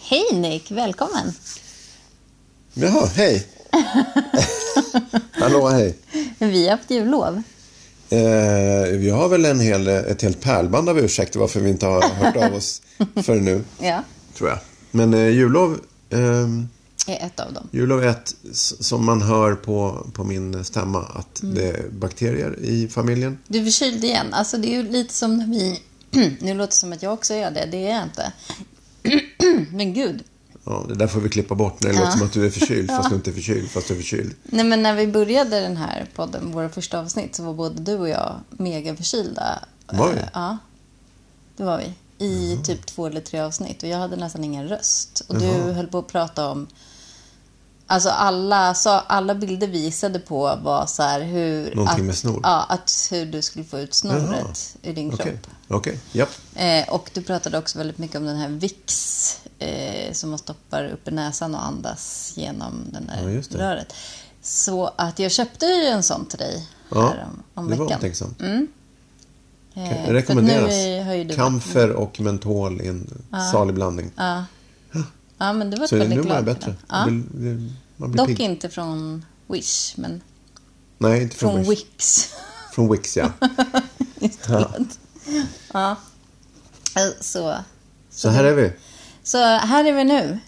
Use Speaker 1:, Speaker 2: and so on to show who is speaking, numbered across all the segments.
Speaker 1: Hej Nick, välkommen.
Speaker 2: Jaha, hej. Hallå, hej.
Speaker 1: Vi har haft jullov.
Speaker 2: Eh, vi har väl en hel, ett helt pärlband av ursäkter varför vi inte har hört av oss förrän nu,
Speaker 1: Ja,
Speaker 2: tror jag. Men eh, jullov, eh,
Speaker 1: är ett av dem.
Speaker 2: jullov är ett s- som man hör på, på min stämma att
Speaker 1: Mm.
Speaker 2: det är bakterier i familjen.
Speaker 1: Du är förkyld igen. Alltså det är ju lite som när vi... nu låter det som att jag också är det, det är jag inte. men gud.
Speaker 2: Ja, det där får vi klippa bort när det låter som att du är förkyld fast du inte är förkyld fast du är förkyld.
Speaker 1: Nej men när vi började den här podden, våra första avsnitt, så var både du och jag mega förkylda.
Speaker 2: Var vi?
Speaker 1: Eh, Ja, det var vi. I typ två eller tre avsnitt och jag hade nästan ingen röst. Och du höll på att prata om... Alltså alla, så alla bilder vi gissade på var så här hur...
Speaker 2: Någonting
Speaker 1: att,
Speaker 2: med snor?
Speaker 1: Ja, att hur du skulle få ut snoret ur din kropp.
Speaker 2: Okej, okej, japp.
Speaker 1: Eh, och du pratade också väldigt mycket om den här Vicks eh, som man stoppar upp i näsan och andas genom den
Speaker 2: Ja,
Speaker 1: där
Speaker 2: just det.
Speaker 1: röret. Så att jag köpte ju en sån till dig
Speaker 2: Ja,
Speaker 1: här om, om
Speaker 2: det var
Speaker 1: veckan. Mm.
Speaker 2: omtänksamt.
Speaker 1: Eh,
Speaker 2: Okej,
Speaker 1: för att
Speaker 2: rekommenderas.
Speaker 1: Nu är- har ju du varit-
Speaker 2: Kamfer och mentol i en salig blandning.
Speaker 1: Ja. ja, men du var
Speaker 2: Så är det
Speaker 1: väldigt
Speaker 2: nu
Speaker 1: glad för
Speaker 2: man är bättre.
Speaker 1: den. Ja.
Speaker 2: Man blir, det- man blir
Speaker 1: Dock
Speaker 2: pigg.
Speaker 1: inte från Wish, men
Speaker 2: Nej, inte
Speaker 1: från
Speaker 2: från, Wix.
Speaker 1: Wix.
Speaker 2: Från Wix, ja.
Speaker 1: ja. ja. Eh, Så.
Speaker 2: Så här är vi.
Speaker 1: Så här är vi nu.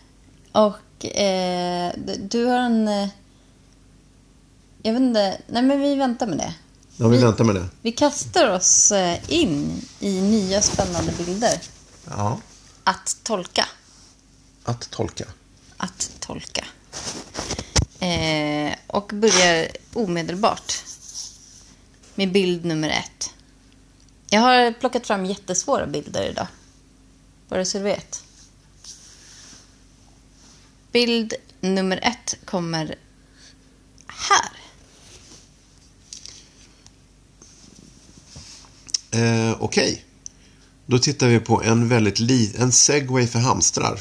Speaker 1: Och eh, d- du har en... eh, Jag vet inte. Nej, men vi väntar med det.
Speaker 2: Ja, vi väntar med det.
Speaker 1: Vi kastar oss eh, in i nya spännande bilder.
Speaker 2: Ja.
Speaker 1: Att tolka.
Speaker 2: Att tolka.
Speaker 1: Att tolka. Eh, och börjar omedelbart med bild nummer ett. Jag har plockat fram jättesvåra bilder idag. Bara så du vet. Bild nummer ett kommer här.
Speaker 2: Eh, Okej. Då tittar vi på en väldigt li- en segway för hamstrar.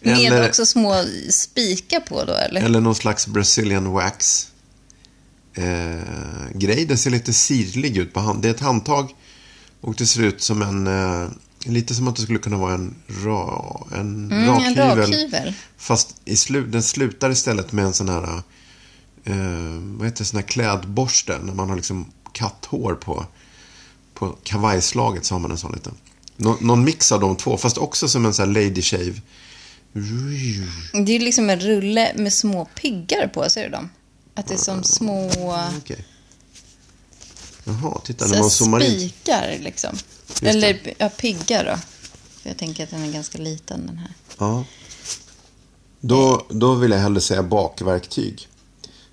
Speaker 1: Med
Speaker 2: Eller-
Speaker 1: också små spikar på då, eller?
Speaker 2: Eller någon slags Brazilian wax eh, grej. Den ser lite sirlig ut på hand. Det är ett handtag och det ser ut som en... Eh, lite som att det skulle kunna vara en, ra, en
Speaker 1: Mm, en
Speaker 2: rakhyvel.
Speaker 1: rakhyvel.
Speaker 2: Fast i slu, den slutar istället med en sån här... Eh, vad heter det? Sån här klädborste. När man har liksom katthår på, på kavajslaget så har man en sån liten. Nå, någon mix av de två. Fast också som en sån här lady shave.
Speaker 1: Det är liksom en rulle med små piggar på, ser du dem? Att det är som små...
Speaker 2: Okej. Jaha, titta när
Speaker 1: Ah. Så
Speaker 2: man zoomar in.
Speaker 1: spikar liksom.
Speaker 2: det.
Speaker 1: Eller ja, piggar då. För jag tänker att den är ganska liten den här.
Speaker 2: Ja. Då, då vill jag hellre säga bakverktyg.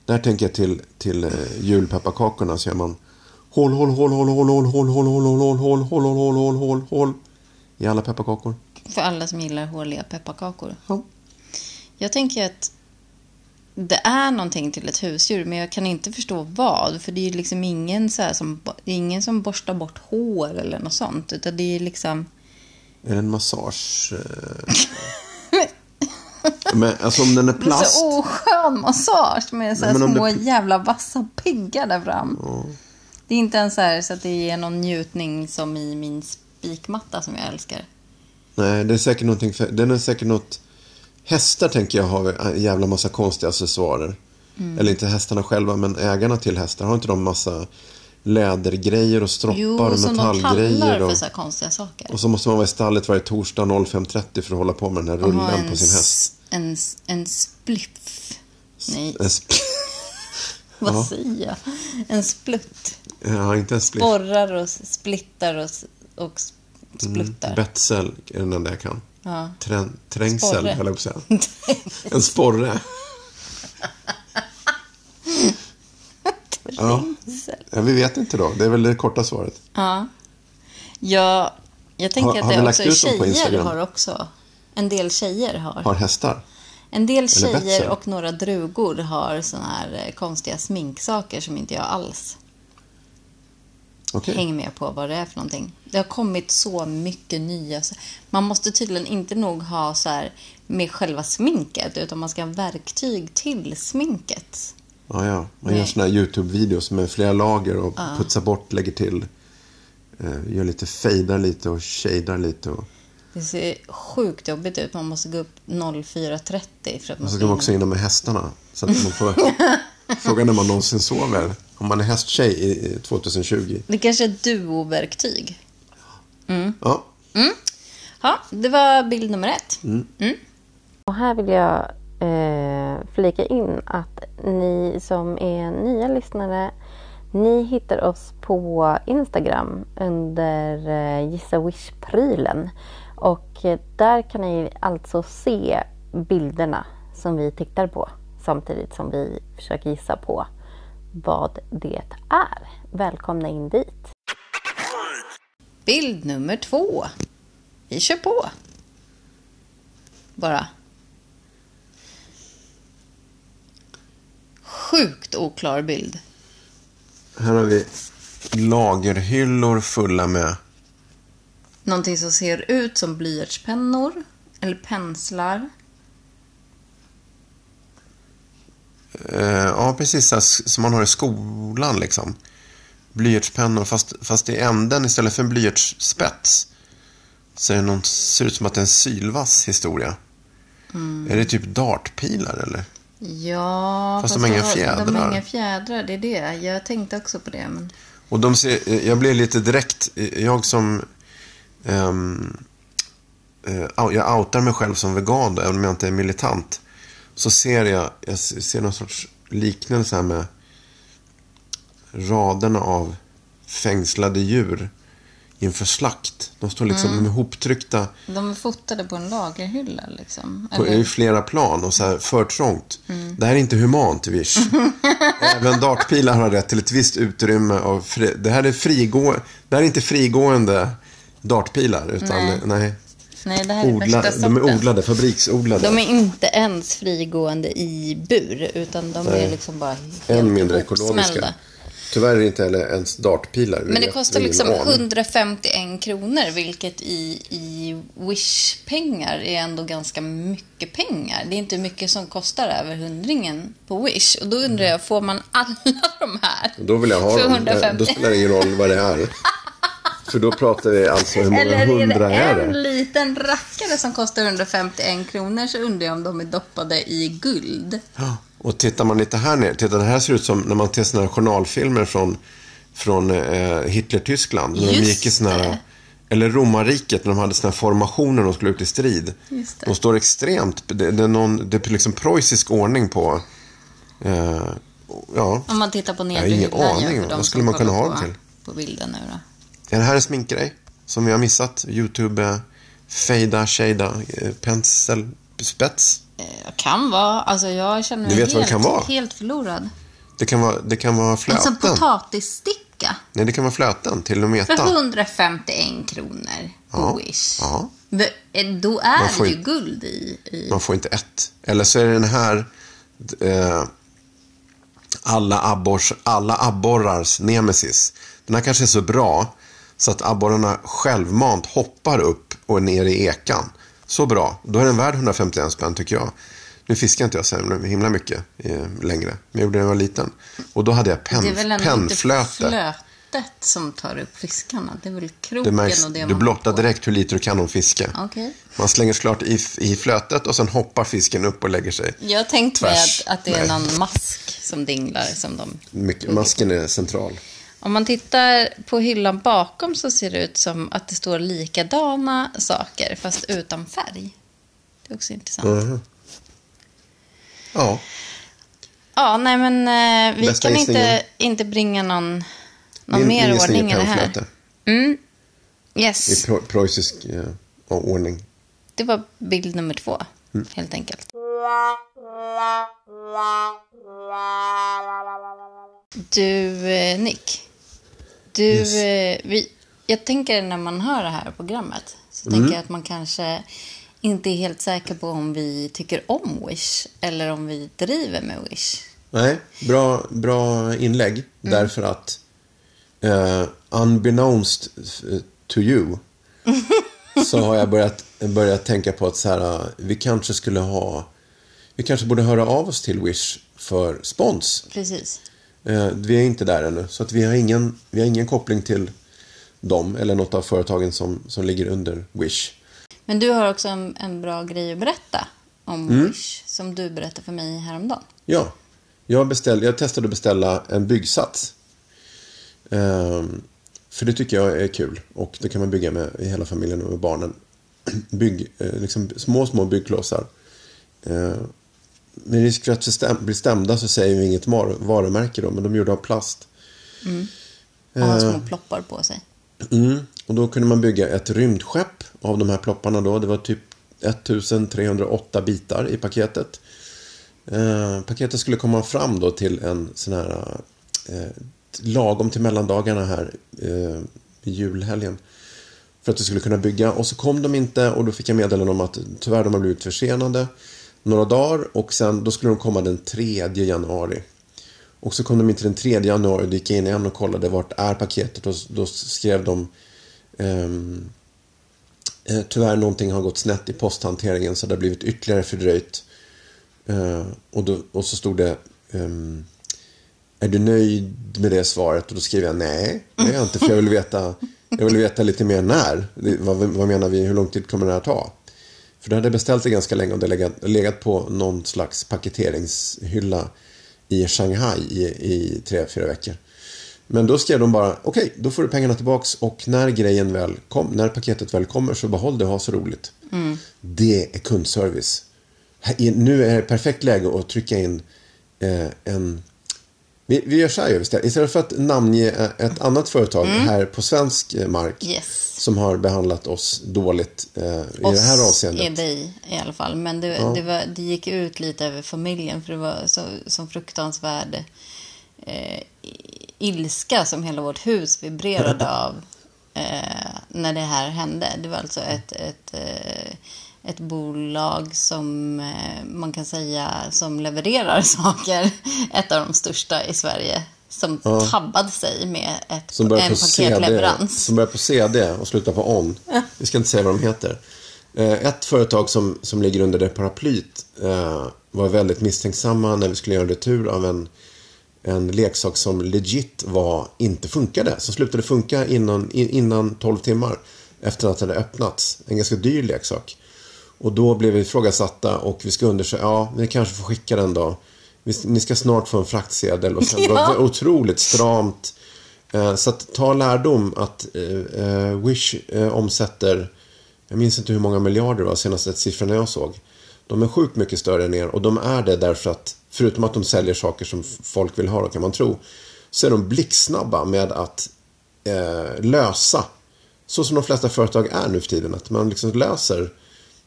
Speaker 2: Där tänker jag till, till eh, julpepparkakorna så gör man hål, hål, hål, hål, hål, hål, hål, hål, hål, hål, hål, hål, hål, hål, hål, hål, hål, hål. I alla pepparkakor.
Speaker 1: För alla som gillar håliga pepparkakor.
Speaker 2: Ja.
Speaker 1: Jag tänker att det är någonting till ett husdjur men jag kan inte förstå vad. För det är ju liksom ingen, så här som, det är ingen som borstar bort hår eller något sånt. Utan det är liksom...
Speaker 2: Är det en massage? eh? Men alltså om den är
Speaker 1: Det är
Speaker 2: plast.
Speaker 1: så oskön massage med så här
Speaker 2: Nej, men om
Speaker 1: små
Speaker 2: det-
Speaker 1: jävla vassa piggar där fram. Det är inte ens så här så att det ger någon njutning som i min spikmatta som jag älskar.
Speaker 2: Nej, det är säkert någonting för... Den är säkert något... Hästar tänker jag har en jävla massa konstiga accessoarer.
Speaker 1: Mm.
Speaker 2: Eller inte hästarna själva, men ägarna till hästar. Har inte de massa lädergrejer och stroppar
Speaker 1: Jo,
Speaker 2: och
Speaker 1: som de
Speaker 2: metallgrejer?
Speaker 1: kallar
Speaker 2: Och,
Speaker 1: för så här konstiga saker.
Speaker 2: och så måste man vara i stallet varje torsdag 05.30 för att hålla på med den här
Speaker 1: De har
Speaker 2: rullen
Speaker 1: en,
Speaker 2: på sin
Speaker 1: s-
Speaker 2: häst.
Speaker 1: en, s- en spliff. Nej,
Speaker 2: En sp-
Speaker 1: vad
Speaker 2: ja.
Speaker 1: säger jag? En splutt.
Speaker 2: ja, inte en spliff.
Speaker 1: Borrar och s- splittar och, s- och s-
Speaker 2: Mm,
Speaker 1: spluttar.
Speaker 2: Betsel är den enda jag kan.
Speaker 1: Ja.
Speaker 2: Trän- trängsel,
Speaker 1: Sporre.
Speaker 2: höll jag på att säga. En sporre. ja. ja, vi vet inte då. Det är väl det korta svaret.
Speaker 1: Ja. Jag, jag tänker
Speaker 2: Har-
Speaker 1: att
Speaker 2: har vi
Speaker 1: det
Speaker 2: lagt
Speaker 1: också
Speaker 2: ut dem på
Speaker 1: tjejer
Speaker 2: Instagram?
Speaker 1: har också. En del tjejer har.
Speaker 2: Har hästar.
Speaker 1: En del tjejer
Speaker 2: betsel.
Speaker 1: och några drugor har såna här eh, konstiga sminksaker som inte jag alls
Speaker 2: Okej.
Speaker 1: hänger med på vad det är för någonting. Det har kommit så mycket nya. så- Man måste tydligen inte nog ha så här med själva sminket utan man ska ha verktyg till sminket.
Speaker 2: Ja, ja. Man
Speaker 1: Nej.
Speaker 2: gör såna här YouTube-videos med flera lager och putsar bort, lägger till. Eh, gör lite, fejdar lite och shadar lite. Och...
Speaker 1: Det ser sjukt jobbigt ut. Man måste gå upp 04.30 för att man
Speaker 2: Och så
Speaker 1: ska
Speaker 2: kan man
Speaker 1: in.
Speaker 2: också hinna med hästarna. Så att man får... Frågan när man någonsin sover. Om man är hästtjej i i 2020.
Speaker 1: Det kanske är ett duoverktyg.
Speaker 2: Ja,
Speaker 1: Ja, det var bild nummer ett. Mm.
Speaker 3: Och här vill jag eh, flika in att ni som är nya lyssnare, ni hittar oss på Instagram under eh, Gissa Wish-prylen. Och eh, där kan ni alltså se bilderna som vi tittar på samtidigt som vi försöker gissa på vad det är. Välkomna in dit!
Speaker 1: Bild nummer två. Vi kör på. Bara. Sjukt oklar bild.
Speaker 2: här har vi lagerhyllor fulla med...
Speaker 1: Någonting som ser ut som blyertspennor eller penslar.
Speaker 2: Eh, ja, precis. så här s- Som man har i skolan liksom. Blyertspennor, fast, fast i änden istället för en blyertsspets. Så är det någon, ser det ut som att det är en sylvass historia. Är det typ dartpilar eller?
Speaker 1: Ja,
Speaker 2: Fast de har inga
Speaker 1: har- De
Speaker 2: fjädrar.
Speaker 1: har inga fjädrar, det är det. Jag tänkte också på det. Men...
Speaker 2: Och de ser, eh, jag blev lite direkt, eh, jag som... ehm, eh, au- jag outar mig själv som vegan, då, även om jag inte är militant. Så ser jag, jag s- ser någon sorts liknelse här med raderna av fängslade djur inför slakt. De står liksom ihoptryckta
Speaker 1: De är fotade på en lagerhylla liksom.
Speaker 2: på
Speaker 1: Eller, Mm.
Speaker 2: i flera plan och så här för trångt. Det här är inte humant, Vish. Även dartpilar har rätt till ett visst utrymme. Av fri... det, här är frigå... det här är inte frigående dartpilar, utan nej.
Speaker 1: nej, det här är
Speaker 2: Odla...
Speaker 1: värsta
Speaker 2: De är
Speaker 1: sorten.
Speaker 2: odlade, fabriksodlade.
Speaker 1: De är inte ens frigående i bur, utan de är liksom bara helt
Speaker 2: Än mindre
Speaker 1: ihopsmällda.
Speaker 2: ekologiska. Tyvärr är det inte heller ens dartpilar.
Speaker 1: Men det kostar
Speaker 2: Jag har
Speaker 1: liksom
Speaker 2: ingen aning.
Speaker 1: 151 kronor, vilket i, i Wish-pengar är ändå ganska mycket pengar. Det är inte mycket som kostar över hundringen på Wish. Och då undrar jag, får man alla de här?
Speaker 2: Då vill jag ha
Speaker 1: för
Speaker 2: dem. Nej,
Speaker 1: 150?
Speaker 2: Då spelar det ingen roll vad det är. För då pratar vi alltså hur många
Speaker 1: Eller är
Speaker 2: hundra
Speaker 1: det
Speaker 2: är det.
Speaker 1: en liten rackare som kostar 151 kronor så undrar jag om de är doppade i guld.
Speaker 2: Ja, Och tittar man lite här ner, titta det här ser ut som när man tittar såna här journalfilmer från, från eh, Hitler-Tyskland. När de
Speaker 1: Just
Speaker 2: gick i såna här,
Speaker 1: det.
Speaker 2: eller romarriket när de hade såna här formationer när de skulle ut i strid.
Speaker 1: Just det.
Speaker 2: De står extremt, det, det är, någon, det är liksom preussisk ordning på, eh, ja.
Speaker 1: Om man tittar på nedre
Speaker 2: Jag har ingen
Speaker 1: hyllan. ja,
Speaker 2: aning.
Speaker 1: för
Speaker 2: Vad
Speaker 1: de som
Speaker 2: skulle man kunna
Speaker 1: kollar
Speaker 2: ha
Speaker 1: på,
Speaker 2: dem till?
Speaker 1: På bilden nu då.
Speaker 2: Är det här en sminkgrej som vi har missat? Youtube, eh, fejda, shada, eh, pensel, spets.
Speaker 1: Eh, kan vara. Alltså jag känner mig
Speaker 2: Du vet vad det
Speaker 1: helt,
Speaker 2: kan vara?
Speaker 1: helt förlorad.
Speaker 2: Det kan vara, det kan vara
Speaker 1: Alltså
Speaker 2: flöten.
Speaker 1: potatissticka.
Speaker 2: Nej, det kan vara flöten till och
Speaker 1: För
Speaker 2: meta.
Speaker 1: 151 kronor på
Speaker 2: Ja,
Speaker 1: Wish.
Speaker 2: ja.
Speaker 1: V- eh, Då
Speaker 2: Man
Speaker 1: är
Speaker 2: får
Speaker 1: det ju
Speaker 2: ju-
Speaker 1: guld i. i.
Speaker 2: Man får inte ett. Eller så är det den här eh, alla, abbors, alla abborrars nemesis. Den här kanske är så bra så att abborrarna självmant hoppar upp och är ner i ekan. Så bra. Då är den värd 151 spänn tycker jag. Nu fiskar inte jag så himla mycket eh, längre. Men jag gjorde det när jag var liten. Och då hade jag
Speaker 1: Det är
Speaker 2: pen,
Speaker 1: väl ändå inte
Speaker 2: pennflöte.
Speaker 1: flötet som tar upp fiskarna. Det är väl kroken
Speaker 2: Det märks,
Speaker 1: och det
Speaker 2: du
Speaker 1: man
Speaker 2: blottar
Speaker 1: får.
Speaker 2: direkt hur lite du kan om fiske.
Speaker 1: Okej.
Speaker 2: Man slänger såklart i, i flötet och sen hoppar fisken upp och lägger sig.
Speaker 1: Jag tänkte mig
Speaker 2: Tvärs.
Speaker 1: att, att det är
Speaker 2: Nej.
Speaker 1: någon mask som dinglar. Som de...
Speaker 2: Mycket, masken är central.
Speaker 1: Om man tittar på hyllan bakom så ser det ut som att det står likadana saker fast utan färg. Det är också intressant.
Speaker 2: Mm-hmm. Ja,
Speaker 1: Ja, nej men eh, vi
Speaker 2: Bästa
Speaker 1: kan
Speaker 2: gissningen.
Speaker 1: inte, inte bringa någon, någon
Speaker 2: min,
Speaker 1: mer
Speaker 2: min gissning
Speaker 1: ordning i
Speaker 2: är
Speaker 1: det här.
Speaker 2: pennflöte.
Speaker 1: Mm.
Speaker 2: I
Speaker 1: Yes,
Speaker 2: pre- preussisk eh, ordning.
Speaker 1: det var bild nummer två
Speaker 2: Mm.
Speaker 1: helt enkelt. Du, eh, Nick. Du,
Speaker 2: Yes.
Speaker 1: eh, vi, jag tänker när man hör det här programmet så
Speaker 2: Mm.
Speaker 1: tänker jag att man kanske inte är helt säker på om vi tycker om Wish eller om vi driver med Wish.
Speaker 2: Nej, bra, bra inlägg. Därför att eh, unbeknownst eh, to you så har jag börjat, börjat tänka på att så här, eh, vi kanske skulle ha... Vi kanske borde höra av oss till Wish för spons.
Speaker 1: Precis.
Speaker 2: Eh, vi är inte där ännu, så att vi, har ingen, vi har ingen koppling till dem eller något av företagen som, som ligger under Wish.
Speaker 1: Men du har också en, en bra grej att berätta om Wish som du berättade för mig häromdagen.
Speaker 2: Ja, jag, beställ, jag testade att beställa en byggsats. Ehm, för det tycker jag är kul och det kan man bygga med i hela familjen och med barnen. Bygg, eh, liksom små, små byggklossar. Ehm, med risk för att stäm, bli stämda så säger vi inget mar- varumärke då, men de är gjorda av plast.
Speaker 1: Och har små ploppar på sig.
Speaker 2: Mm. Och då kunde man bygga ett rymdskepp av de här plopparna då. Det var typ 1308 bitar i paketet. Eh, paketet skulle komma fram då till en sån här eh, lagom till mellandagarna här eh, i julhelgen. För att vi skulle kunna bygga och så kom de inte och då fick jag meddelande om att tyvärr de har blivit försenade några dagar och sen då skulle de komma den 3 januari. Och så kom de in till den 3 januari och gick jag in igen och kollade vart är paketet och då skrev de ehm, eh, Tyvärr någonting har gått snett i posthanteringen så det har blivit ytterligare fördröjt. Eh, och, då, och så stod det ehm, Är du nöjd med det svaret? Och då skrev jag nej, det är jag inte för jag vill veta, jag vill veta lite mer när. Det- Vad, vad menar vi, hur lång tid kommer det här ta? För då hade jag beställt det ganska länge och det legat, legat på någon slags paketeringshylla i Shanghai i, i tre, fyra veckor. Men då skrev de bara, okej, då får du pengarna tillbaks och när grejen väl kom, när paketet väl kommer så behåll det och ha så roligt. Det är kundservice. Här är- Nu är det perfekt läge att trycka in eh, en vi, vi gör så här gör vi istället. Istället för att namnge eh, ett annat företag här på svensk eh, mark
Speaker 1: Mm. Yes.
Speaker 2: som har behandlat oss dåligt eh, i
Speaker 1: Oss
Speaker 2: det här avseendet.
Speaker 1: är dig i alla fall. Men det, det, var, det gick ut lite över familjen för det var så, som fruktansvärd eh, i- ilska som hela vårt hus vibrerade av eh, när det här hände. Det var alltså ett, ett, eh, ett bolag som eh, man kan säga som levererar saker, ett av de största i Sverige, som tabbade sig med ett,
Speaker 2: Som börjar
Speaker 1: en
Speaker 2: på CD,
Speaker 1: paketleverans.
Speaker 2: som börjar på CD och slutar på ON. Vi ska inte säga vad de heter. Eh, Ett företag som, som ligger under det paraplyet eh, var väldigt misstänksamma när vi skulle göra en retur av en, en leksak som legit var, inte funkade. Som slutade funka innan, in- innan 12 timmar efter att den hade öppnats. En ganska dyr leksak. Och då blev vi ifrågasatta och vi ska undersöka, ja, ni kanske får skicka den då. Vi- Ni ska snart få en fraktsedel och sen var det otroligt stramt. Eh, Så att ta lärdom att eh, eh, Wish eh, omsätter, jag minns inte hur många miljarder det var, senaste siffrorna jag såg. De är sjukt mycket större än er och de är det därför att, förutom att de säljer saker som f- folk vill ha, då kan man tro, så är de blixtsnabba med att eh, lösa, så som de flesta företag är nu för tiden, att man liksom löser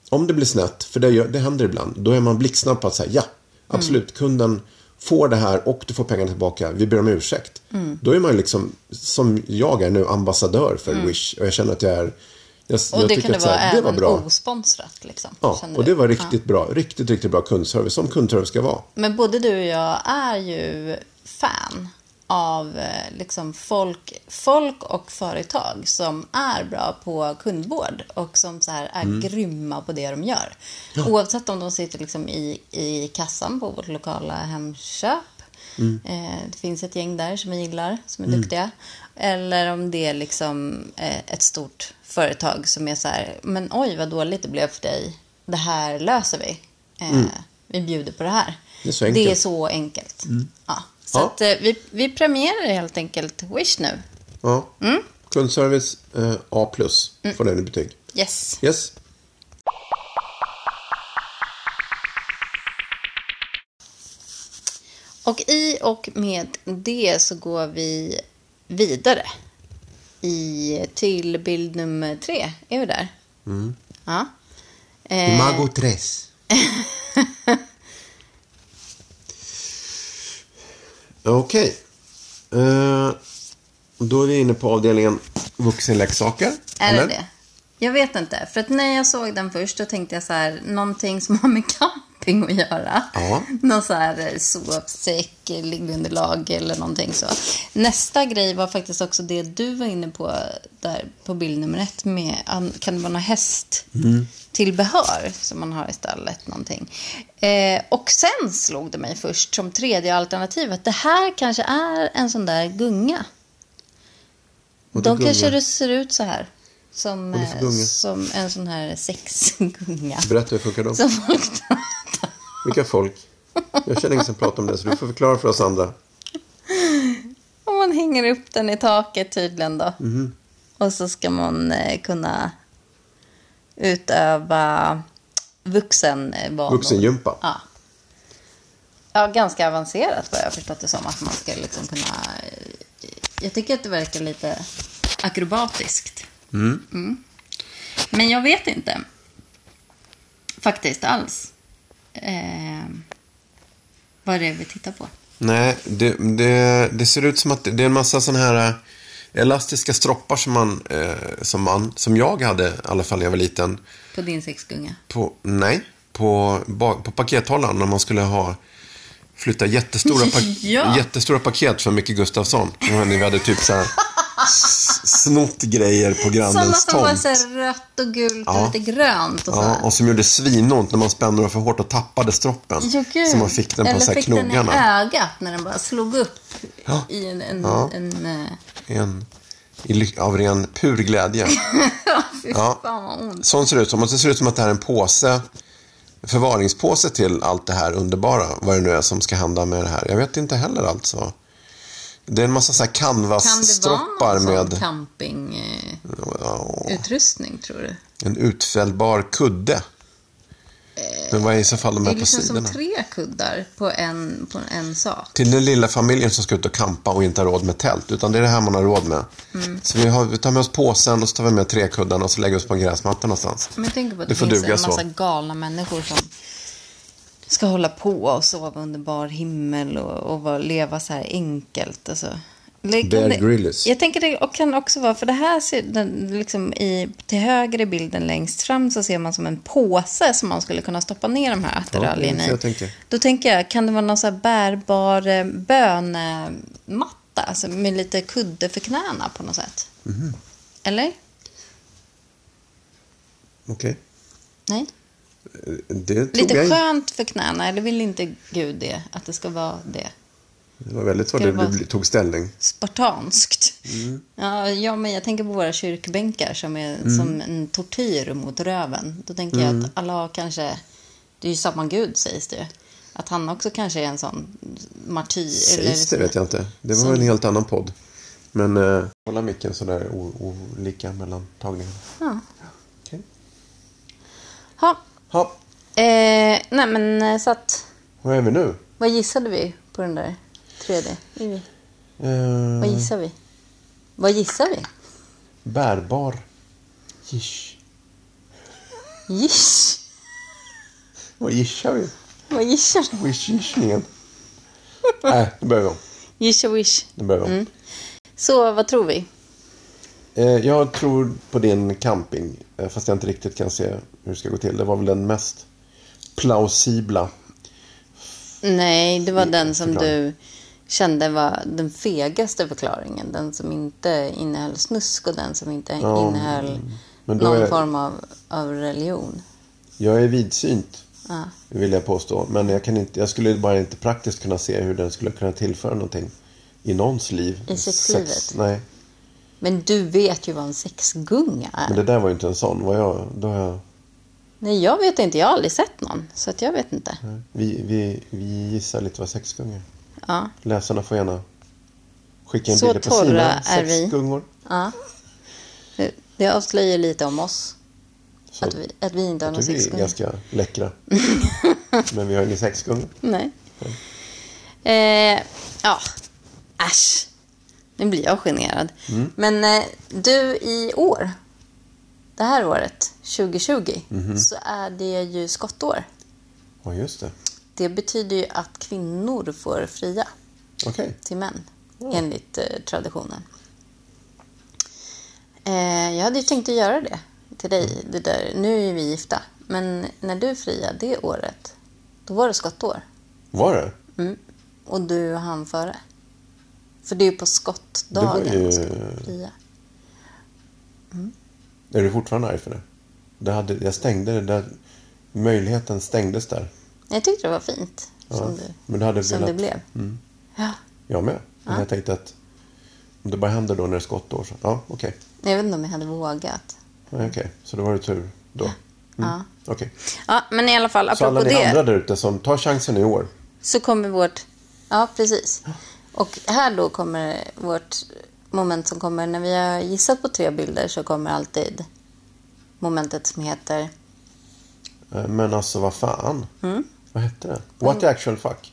Speaker 2: om det blir snett, för det, gör, det händer ibland, då är man blixtsnabb på att säga ja,
Speaker 1: Mm.
Speaker 2: absolut, kunden får det här och du får pengarna tillbaka, vi ber om ursäkt.
Speaker 1: Mm.
Speaker 2: Då är man ju liksom, som jag är nu, ambassadör för Wish och jag känner att jag är,
Speaker 1: Mm.
Speaker 2: jag,
Speaker 1: Och
Speaker 2: jag
Speaker 1: det kunde
Speaker 2: att så
Speaker 1: vara
Speaker 2: här,
Speaker 1: även
Speaker 2: det var bra.
Speaker 1: osponsrat. Liksom,
Speaker 2: Ja,
Speaker 1: kände
Speaker 2: och
Speaker 1: du?
Speaker 2: det var
Speaker 1: Ja.
Speaker 2: riktigt bra, riktigt, riktigt bra kundservice, som kundservice ska vara.
Speaker 1: Men både du och jag är ju fan av eh, liksom folk, folk och företag som är bra på kundvård och som så här är grymma på det de gör. Oavsett om de sitter liksom i, i kassan på vårt lokala Hemköp. Eh, det finns ett gäng där som jag gillar, som är duktiga. Eller om det är liksom eh, ett stort företag som är så här, men oj vad dåligt det blev för dig. Det här löser vi. Eh, Vi bjuder på det här.
Speaker 2: Det är så enkelt. Mm.
Speaker 1: Det är så enkelt. Ja. Så
Speaker 2: Ja.
Speaker 1: Att, eh, vi, vi premierar helt enkelt Wish nu.
Speaker 2: Ja.
Speaker 1: Mm.
Speaker 2: Kundservice eh, A+, får den i betyg.
Speaker 1: Yes.
Speaker 2: Yes.
Speaker 1: Och i och med det så går vi vidare i, till bild nummer tre. Är vi där?
Speaker 2: Mm.
Speaker 1: Ja. Eh,
Speaker 2: Mago 3. Okej. Eh, då är vi inne på avdelningen vuxenleksaker.
Speaker 1: Är
Speaker 2: eller?
Speaker 1: det det? Jag vet inte. För att när jag såg den först då tänkte jag så här, någonting som har med camping att göra.
Speaker 2: Ja.
Speaker 1: Någon så här eh, sovsäck, liggunderlag eller någonting så. Nästa grej var faktiskt också det du var inne på där på bild nummer ett med, an- kan det vara något häst?
Speaker 2: Mm.
Speaker 1: tillbehör som man har i stallet någonting. Eh, och sen slog det mig först som tredje alternativ att det här kanske är en sån där gunga.
Speaker 2: Vadå
Speaker 1: De kanske
Speaker 2: gunga?
Speaker 1: det ser ut så här. Som,
Speaker 2: Vad är det för
Speaker 1: eh,
Speaker 2: gunga?
Speaker 1: som en sån här sexgunga.
Speaker 2: Berätta hur funkar de?
Speaker 1: Som folk pratar.
Speaker 2: Vilka folk? Jag känner ingen som pratar om det, så du får förklara för oss andra.
Speaker 1: Och man hänger upp den i taket tydligen då.
Speaker 2: Mhm.
Speaker 1: Och så ska man eh, kunna utöva vuxenvanor.
Speaker 2: Vuxengympa.
Speaker 1: Ja. ja, ganska avancerat vad jag har förstått det som. Att man ska liksom kunna... Jag tycker att det verkar lite akrobatiskt. Mm. Men jag vet inte. Faktiskt alls. Eh, vad det är vi tittar på.
Speaker 2: Nej, det, det, det ser ut som att det är en massa sådana här eh, elastiska stroppar som man, eh, som man, som jag hade i alla fall när jag var liten.
Speaker 1: På din sexgunga.
Speaker 2: På, nej, på, ba- på pakethållaren när man skulle ha flytta jättestora, pa
Speaker 1: Ja.
Speaker 2: jättestora paket från Micke Gustafsson. Jag vet inte, Vi hade typ så här s- snott grejer på
Speaker 1: Sådana
Speaker 2: grannens
Speaker 1: som var
Speaker 2: tomt.
Speaker 1: så här rött och gult
Speaker 2: Ja.
Speaker 1: och lite grönt och
Speaker 2: Ja,
Speaker 1: sådär.
Speaker 2: och som gjorde svinont när man spände den för hårt och tappade stroppen.
Speaker 1: Jo, gud.
Speaker 2: så man fick den på
Speaker 1: Eller
Speaker 2: så här
Speaker 1: fick
Speaker 2: knogarna.
Speaker 1: den i ögat när den bara slog upp
Speaker 2: Ja.
Speaker 1: i en... en,
Speaker 2: Ja.
Speaker 1: en eh,
Speaker 2: en, i, ly- av ren pur glädje.
Speaker 1: ja, fy
Speaker 2: Ja.
Speaker 1: fan vad ont.
Speaker 2: Sånt ser det ut som. Och det ser ut som att det här är en påse, förvaringspåse till allt det här underbara. Vad det nu är som ska hända med det här. Jag vet inte heller alltså. Det är en massa så här
Speaker 1: Kan det vara
Speaker 2: canvas-stroppar
Speaker 1: någon
Speaker 2: med
Speaker 1: med... campingutrustning,
Speaker 2: ja,
Speaker 1: tror du?
Speaker 2: en utfällbar kudde. Men vad är i så fall de
Speaker 1: Det
Speaker 2: här
Speaker 1: är
Speaker 2: på
Speaker 1: liksom som
Speaker 2: sidorna?
Speaker 1: tre kuddar på en, på en sak.
Speaker 2: Till den lilla familjen som ska ut och kampa och inte har råd med tält. Utan det är det här man har råd med.
Speaker 1: Mm.
Speaker 2: Så vi, har, vi tar med oss påsen och så tar vi med träkuddarna och så lägger vi oss på en gräsmatta någonstans.
Speaker 1: Men jag tänker på att
Speaker 2: Det
Speaker 1: det,
Speaker 2: får
Speaker 1: finns en
Speaker 2: duga så.
Speaker 1: massa galna människor som ska hålla på och sova under bar himmel och, och vara- leva så här enkelt. Alltså. Det kan
Speaker 2: Bear
Speaker 1: det-
Speaker 2: Grylls.
Speaker 1: Jag tänker det och kan också vara, för det här ser, den, liksom i, till höger i bilden längst fram så ser man som en påse som man skulle kunna stoppa ner de här attiraljerna
Speaker 2: det är
Speaker 1: i.
Speaker 2: så jag tänker.
Speaker 1: Då tänker jag, kan det vara någon så här bärbar eh, bönematta alltså med lite kudde för knäna på något sätt?
Speaker 2: Mhm.
Speaker 1: Eller?
Speaker 2: Okej.
Speaker 1: Nej?
Speaker 2: Det tror
Speaker 1: Lite
Speaker 2: jag inte.
Speaker 1: skönt för knäna, eller vill inte Gud det? Att det ska vara det?
Speaker 2: Det var väldigt vad
Speaker 1: Ska
Speaker 2: du
Speaker 1: det vara-
Speaker 2: du tog ställning.
Speaker 1: Spartanskt.
Speaker 2: Mm.
Speaker 1: Ja, ja, men jag tänker på våra kyrkbänkar som är som en tortyr mot röven. Då tänker
Speaker 2: Mm.
Speaker 1: jag att alla har kanske... Det är ju samma Gud, sägs det ju. Att han också kanske är en sån martyr.
Speaker 2: Sägs det vet jag inte. Det var
Speaker 1: Som-
Speaker 2: en helt annan podd. Men eh, hålla micken sådär o- olika mellan tagningarna.
Speaker 1: Ja.
Speaker 2: Okej.
Speaker 1: Ha,
Speaker 2: Ja,
Speaker 1: eh, nej, men eh, så att...
Speaker 2: vad är vi nu?
Speaker 1: Vad gissade vi på den där 3D? Vad
Speaker 2: Eh,
Speaker 1: gissar vi? Vad gissar vi?
Speaker 2: bärbar. Gish.
Speaker 1: Giss!
Speaker 2: Vad gishar vi?
Speaker 1: Vad gissar vi?
Speaker 2: Wish-gissningen. Nej, nu börjar vi om.
Speaker 1: Gissa wish.
Speaker 2: Nu börjar vi om.
Speaker 1: Mm. Så vad tror vi?
Speaker 2: Eh, jag tror på din camping, eh, fast jag inte riktigt kan se hur det ska gå till. Det var väl den mest plausibla.
Speaker 1: Nej, det var
Speaker 2: Mm,
Speaker 1: den som
Speaker 2: förklaring.
Speaker 1: du kände var den fegaste förklaringen. Den som inte innehöll snusk och den som inte
Speaker 2: Ja,
Speaker 1: innehöll
Speaker 2: men då
Speaker 1: någon
Speaker 2: är-
Speaker 1: form av, av religion.
Speaker 2: Jag är vidsynt.
Speaker 1: Ja.
Speaker 2: vill jag påstå. Men jag, kan inte, jag skulle bara inte praktiskt kunna se hur den skulle kunna tillföra någonting i någons liv.
Speaker 1: I sexlivet?
Speaker 2: nej,
Speaker 1: Men du vet ju vad en sexgunga är.
Speaker 2: men det där var ju inte en sån. Vad jag, då har jag,
Speaker 1: Nej, jag vet inte. Jag har aldrig sett någon, så att jag vet inte.
Speaker 2: vi, vi, vi gissar lite vad sexgungor är.
Speaker 1: Ja.
Speaker 2: Läsarna får gärna skicka in
Speaker 1: Så
Speaker 2: bilder på
Speaker 1: torra
Speaker 2: sina
Speaker 1: är vi.
Speaker 2: sexgungor.
Speaker 1: ja. Det- Det avslöjar lite om oss,
Speaker 2: Så
Speaker 1: att vi, att vi inte har
Speaker 2: jag
Speaker 1: någon
Speaker 2: tycker vi är
Speaker 1: sexgunga.
Speaker 2: ganska läckra. men vi har ingen sexgunga.
Speaker 1: Nej. Eh, ja, äsch. Nu blir jag generad. Men eh, du, i år, det här året, 2020, så är det ju skottår.
Speaker 2: Ja, just det.
Speaker 1: Det betyder ju att kvinnor får fria
Speaker 2: Okej.
Speaker 1: till män, enligt eh, traditionen. Eh, jag hade ju tänkt att göra det till dig. Det där. Nu är ju vi gifta, men när du friade det året, då var det skottår.
Speaker 2: Var det?
Speaker 1: Mm. Och du och han före. För det är ju på skottdagen.
Speaker 2: Det var ju-
Speaker 1: man ska fria.
Speaker 2: Är du fortfarande arg för det? det hade, jag stängde det där. Möjligheten stängdes där.
Speaker 1: Jag tyckte det var fint
Speaker 2: Ja. mm.
Speaker 1: som, du,
Speaker 2: men du hade
Speaker 1: som
Speaker 2: velat...
Speaker 1: det blev. Ja,
Speaker 2: Jag med. Men jag tänkte att om det bara händer då när det är skottår så, ja okej.
Speaker 1: jag vet inte om jag hade vågat.
Speaker 2: Nej, Okej, så då var det tur då. Mm.
Speaker 1: Ja.
Speaker 2: Okej.
Speaker 1: Ja, men i alla fall,
Speaker 2: Så alla
Speaker 1: apropå
Speaker 2: ni
Speaker 1: det.
Speaker 2: andra där ute som tar chansen i år.
Speaker 1: Så kommer vårt... Ja, precis. Och här då kommer vårt moment som kommer... När vi har gissat på tre bilder så kommer alltid momentet som heter...
Speaker 2: Eh, Men alltså, vad fan.
Speaker 1: Mm.
Speaker 2: Vad hette det? What the actual fuck?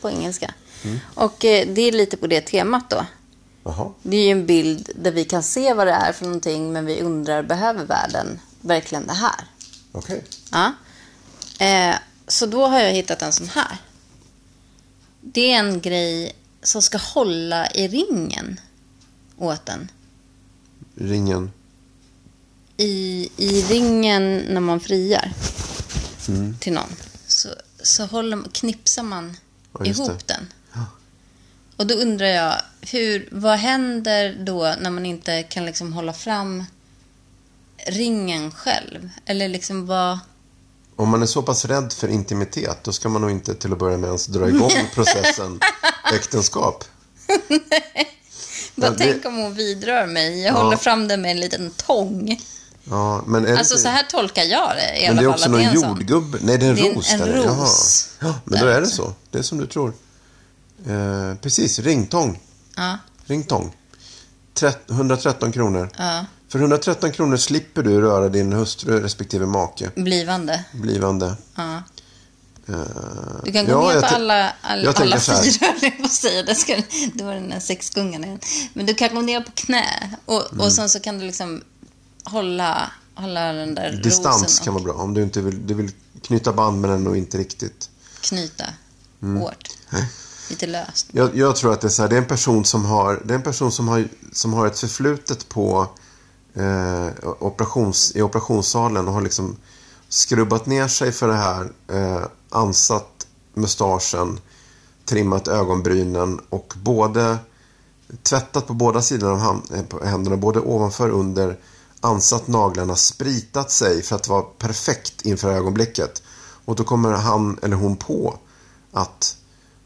Speaker 1: På engelska.
Speaker 2: Mm.
Speaker 1: Och eh, det är lite på det temat då.
Speaker 2: Jaha.
Speaker 1: Det är ju en bild där vi kan se vad det är för någonting men vi undrar, behöver världen verkligen det här?
Speaker 2: Okej.
Speaker 1: Ja. Eh, så då har jag hittat en sån här. Det är en grej som ska hålla i ringen åt en.
Speaker 2: Ringen.
Speaker 1: i, i ringen när man friar
Speaker 2: Mm.
Speaker 1: till någon så, så håller, man- knipsar man
Speaker 2: Ja, just
Speaker 1: ihop
Speaker 2: det.
Speaker 1: den.
Speaker 2: Ja.
Speaker 1: Och då undrar jag, hur, vad händer då när man inte kan liksom hålla fram ringen själv? Eller liksom vad...
Speaker 2: Om man är så pass rädd för intimitet, då ska man nog inte till att börja med ens dra igång processen äktenskap.
Speaker 1: Vad
Speaker 2: Ja, det-
Speaker 1: tänk om hon vidrör mig? Jag
Speaker 2: Ja.
Speaker 1: håller fram den med en liten tång.
Speaker 2: Ja, men är det
Speaker 1: Alltså
Speaker 2: inte-
Speaker 1: så här tolkar jag det i alla
Speaker 2: men det är
Speaker 1: fall.
Speaker 2: också
Speaker 1: att
Speaker 2: någon
Speaker 1: en sån.
Speaker 2: jordgubbe. Nej, det är en
Speaker 1: Det är en-
Speaker 2: ros.
Speaker 1: en
Speaker 2: där. Jaha.
Speaker 1: ros.
Speaker 2: Ja, men då
Speaker 1: Där
Speaker 2: är det
Speaker 1: också.
Speaker 2: så. Det är som du tror. Eh, precis, ringtång.
Speaker 1: Ja,
Speaker 2: Ringtång. Trett- 113 kronor.
Speaker 1: ja.
Speaker 2: För 113 kronor slipper du röra din hustru respektive make,
Speaker 1: Blivande.
Speaker 2: blivande.
Speaker 1: Ja.
Speaker 2: Eh,
Speaker 1: Du kan gå
Speaker 2: ja,
Speaker 1: med
Speaker 2: jag
Speaker 1: på
Speaker 2: te-
Speaker 1: alla, all,
Speaker 2: jag tänker
Speaker 1: alla
Speaker 2: så här.
Speaker 1: fyra, höll jag på att säga. Det, ska, det var den där sexgungan igen. Men du kan gå ner på knä och,
Speaker 2: Mm.
Speaker 1: och sen så kan du liksom hålla, hålla den där
Speaker 2: Distans
Speaker 1: rosen
Speaker 2: kan
Speaker 1: och
Speaker 2: vara bra. Om du inte vill, du vill knyta band med den och inte riktigt.
Speaker 1: knyta
Speaker 2: Mm.
Speaker 1: hårt. Lite löst.
Speaker 2: Jag, jag tror att det är så här, det är en person som har, det är en person som har, som har ett förflutet på eh, operations, i operationssalen och har liksom skrubbat ner sig för det här, eh, ansatt mustaschen, trimmat ögonbrynen och både tvättat på båda sidorna av hand, eh, på händerna, både ovanför och under, ansatt naglarna, spritat sig för att vara perfekt inför ögonblicket. Och då kommer han eller hon på att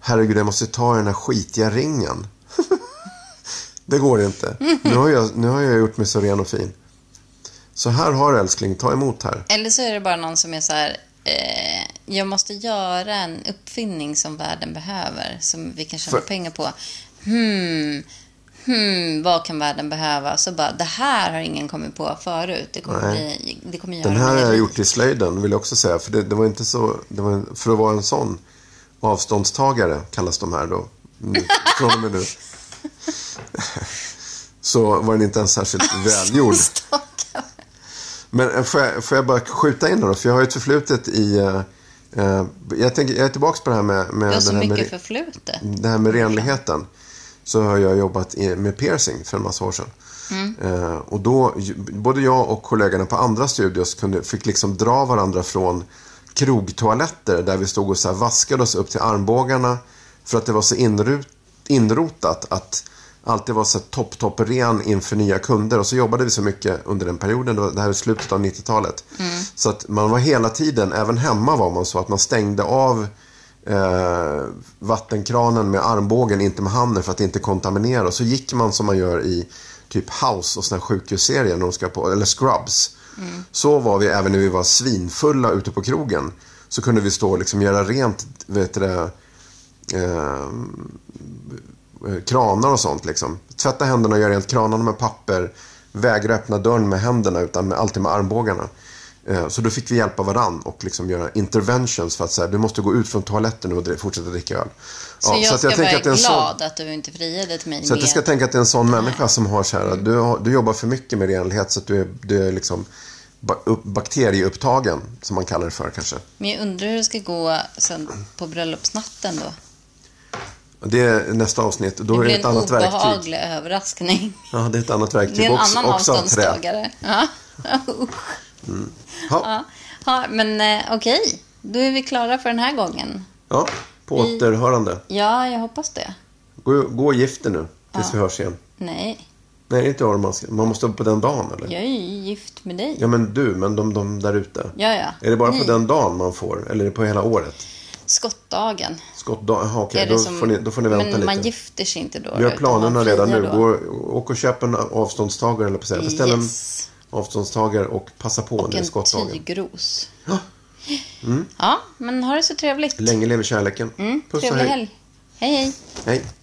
Speaker 2: herregud, jag måste ta i den här skitiga ringen. det går inte. Nu har, jag, nu har jag gjort mig så ren och fin. Så här har du älskling, ta emot här.
Speaker 1: Eller så är det bara någon som är så här... Eh, jag måste göra en uppfinning som världen behöver, som vi kan tjäna
Speaker 2: För-
Speaker 1: pengar på. Hmm, hmm, vad kan världen behöva? Så bara, det här har ingen kommit på förut. Det kommer,
Speaker 2: Nej.
Speaker 1: bli, det kommer göra
Speaker 2: Den här har
Speaker 1: mig
Speaker 2: jag
Speaker 1: rik.
Speaker 2: gjort i slöjden, vill jag också säga. För, det, det var inte så, det var, en- för att vara en sån avståndstagare, kallas de här då, nu, från och med nu. Så var den inte ens särskilt välgjord.
Speaker 1: Stakar.
Speaker 2: Men eh, får jag, får jag bara skjuta in då? För jag har ju ett förflutet i... eh, eh, jag, tänker, jag är tillbaka på det här med... med
Speaker 1: Du har så
Speaker 2: den här Mm. med-
Speaker 1: mycket förflutet.
Speaker 2: det här med renligheten så har jag jobbat i- med piercing för en massa år sedan. Eh, och då, ju- både jag och kollegorna på andra studios kunde, fick liksom dra varandra från krogtoaletter där vi stod och så här vaskade oss upp till armbågarna för att det var så inrut, inrotat att alltid vara så här topp, topp ren inför nya kunder. Och så jobbade vi så mycket under den perioden. Det var- Det här är slutet av 90-talet. Så att man var hela tiden, även hemma var man så att man stängde av eh, vattenkranen med armbågen, inte med handen för att inte kontaminera. Och så gick man som man gör i typ House och såna här sjukhusserier, när de ska på, eller Scrubs. Så var vi även när vi var svinfulla ute på krogen. Så kunde vi stå och liksom göra rent, vet du det, eh, eh, kranar och sånt. Liksom. Tvätta händerna och göra rent kranarna med papper. Vägra öppna dörren med händerna utan med, alltid med armbågarna. Eh, Så då fick vi hjälpa varann och liksom göra interventions för att säga du måste gå ut från toaletten nu och dri- fortsätta dricka öl.
Speaker 1: Så jag ska vara
Speaker 2: det är en
Speaker 1: glad
Speaker 2: sån,
Speaker 1: att du inte friade till mig
Speaker 2: så att
Speaker 1: med...
Speaker 2: jag ska tänka att det är en sån människa som har så här, att du, har- du jobbar för mycket med renlighet så att du är, du är liksom ba- upp- bakterieupptagen, som man kallar det för kanske.
Speaker 1: Men jag undrar hur det ska gå sen på bröllopsnatten då.
Speaker 2: Det är nästa avsnitt. Då
Speaker 1: Det
Speaker 2: är det
Speaker 1: blir
Speaker 2: ett
Speaker 1: en
Speaker 2: annat verktyg.
Speaker 1: obehaglig överraskning.
Speaker 2: Ja, det är ett annat verktyg.
Speaker 1: Det är en
Speaker 2: också,
Speaker 1: annan
Speaker 2: också av trä.
Speaker 1: avståndstagare. Ja. Usch.
Speaker 2: Ja,
Speaker 1: Ja. ja, men eh, okej. Då är vi klara för den här gången.
Speaker 2: ja, på återhörande.
Speaker 1: Ja, jag hoppas det.
Speaker 2: Gå, gå och gift dig nu tills vi hörs igen.
Speaker 1: Nej,
Speaker 2: Nej, inte har man, man måste upp på den dagen eller?
Speaker 1: jag är ju gift med dig.
Speaker 2: Ja, men du, men de, de där ute.
Speaker 1: Ja, ja.
Speaker 2: Är det bara
Speaker 1: Ni.
Speaker 2: på den dagen man får? Eller är det på hela året?
Speaker 1: Skottdagen.
Speaker 2: Skottdagen? Jaha, okej.
Speaker 1: är det
Speaker 2: Då,
Speaker 1: som-
Speaker 2: får ni- då får ni vänta
Speaker 1: men man
Speaker 2: lite.
Speaker 1: gifter sig inte då.
Speaker 2: Gör
Speaker 1: utan man
Speaker 2: planerna redan
Speaker 1: friar
Speaker 2: nu.
Speaker 1: då.
Speaker 2: Gå, åk och köp en avståndstagare, eller på att säga. Beställ
Speaker 1: Yes.
Speaker 2: en avståndstagare och passa på
Speaker 1: Och
Speaker 2: när det är
Speaker 1: en
Speaker 2: skottdagen.
Speaker 1: tygros.
Speaker 2: Ja.
Speaker 1: Ja, men ha det så trevligt.
Speaker 2: Länge lever kärleken.
Speaker 1: Mm,
Speaker 2: Puss och
Speaker 1: trevlig
Speaker 2: hej.
Speaker 1: helg. Hej, hej.
Speaker 2: hej.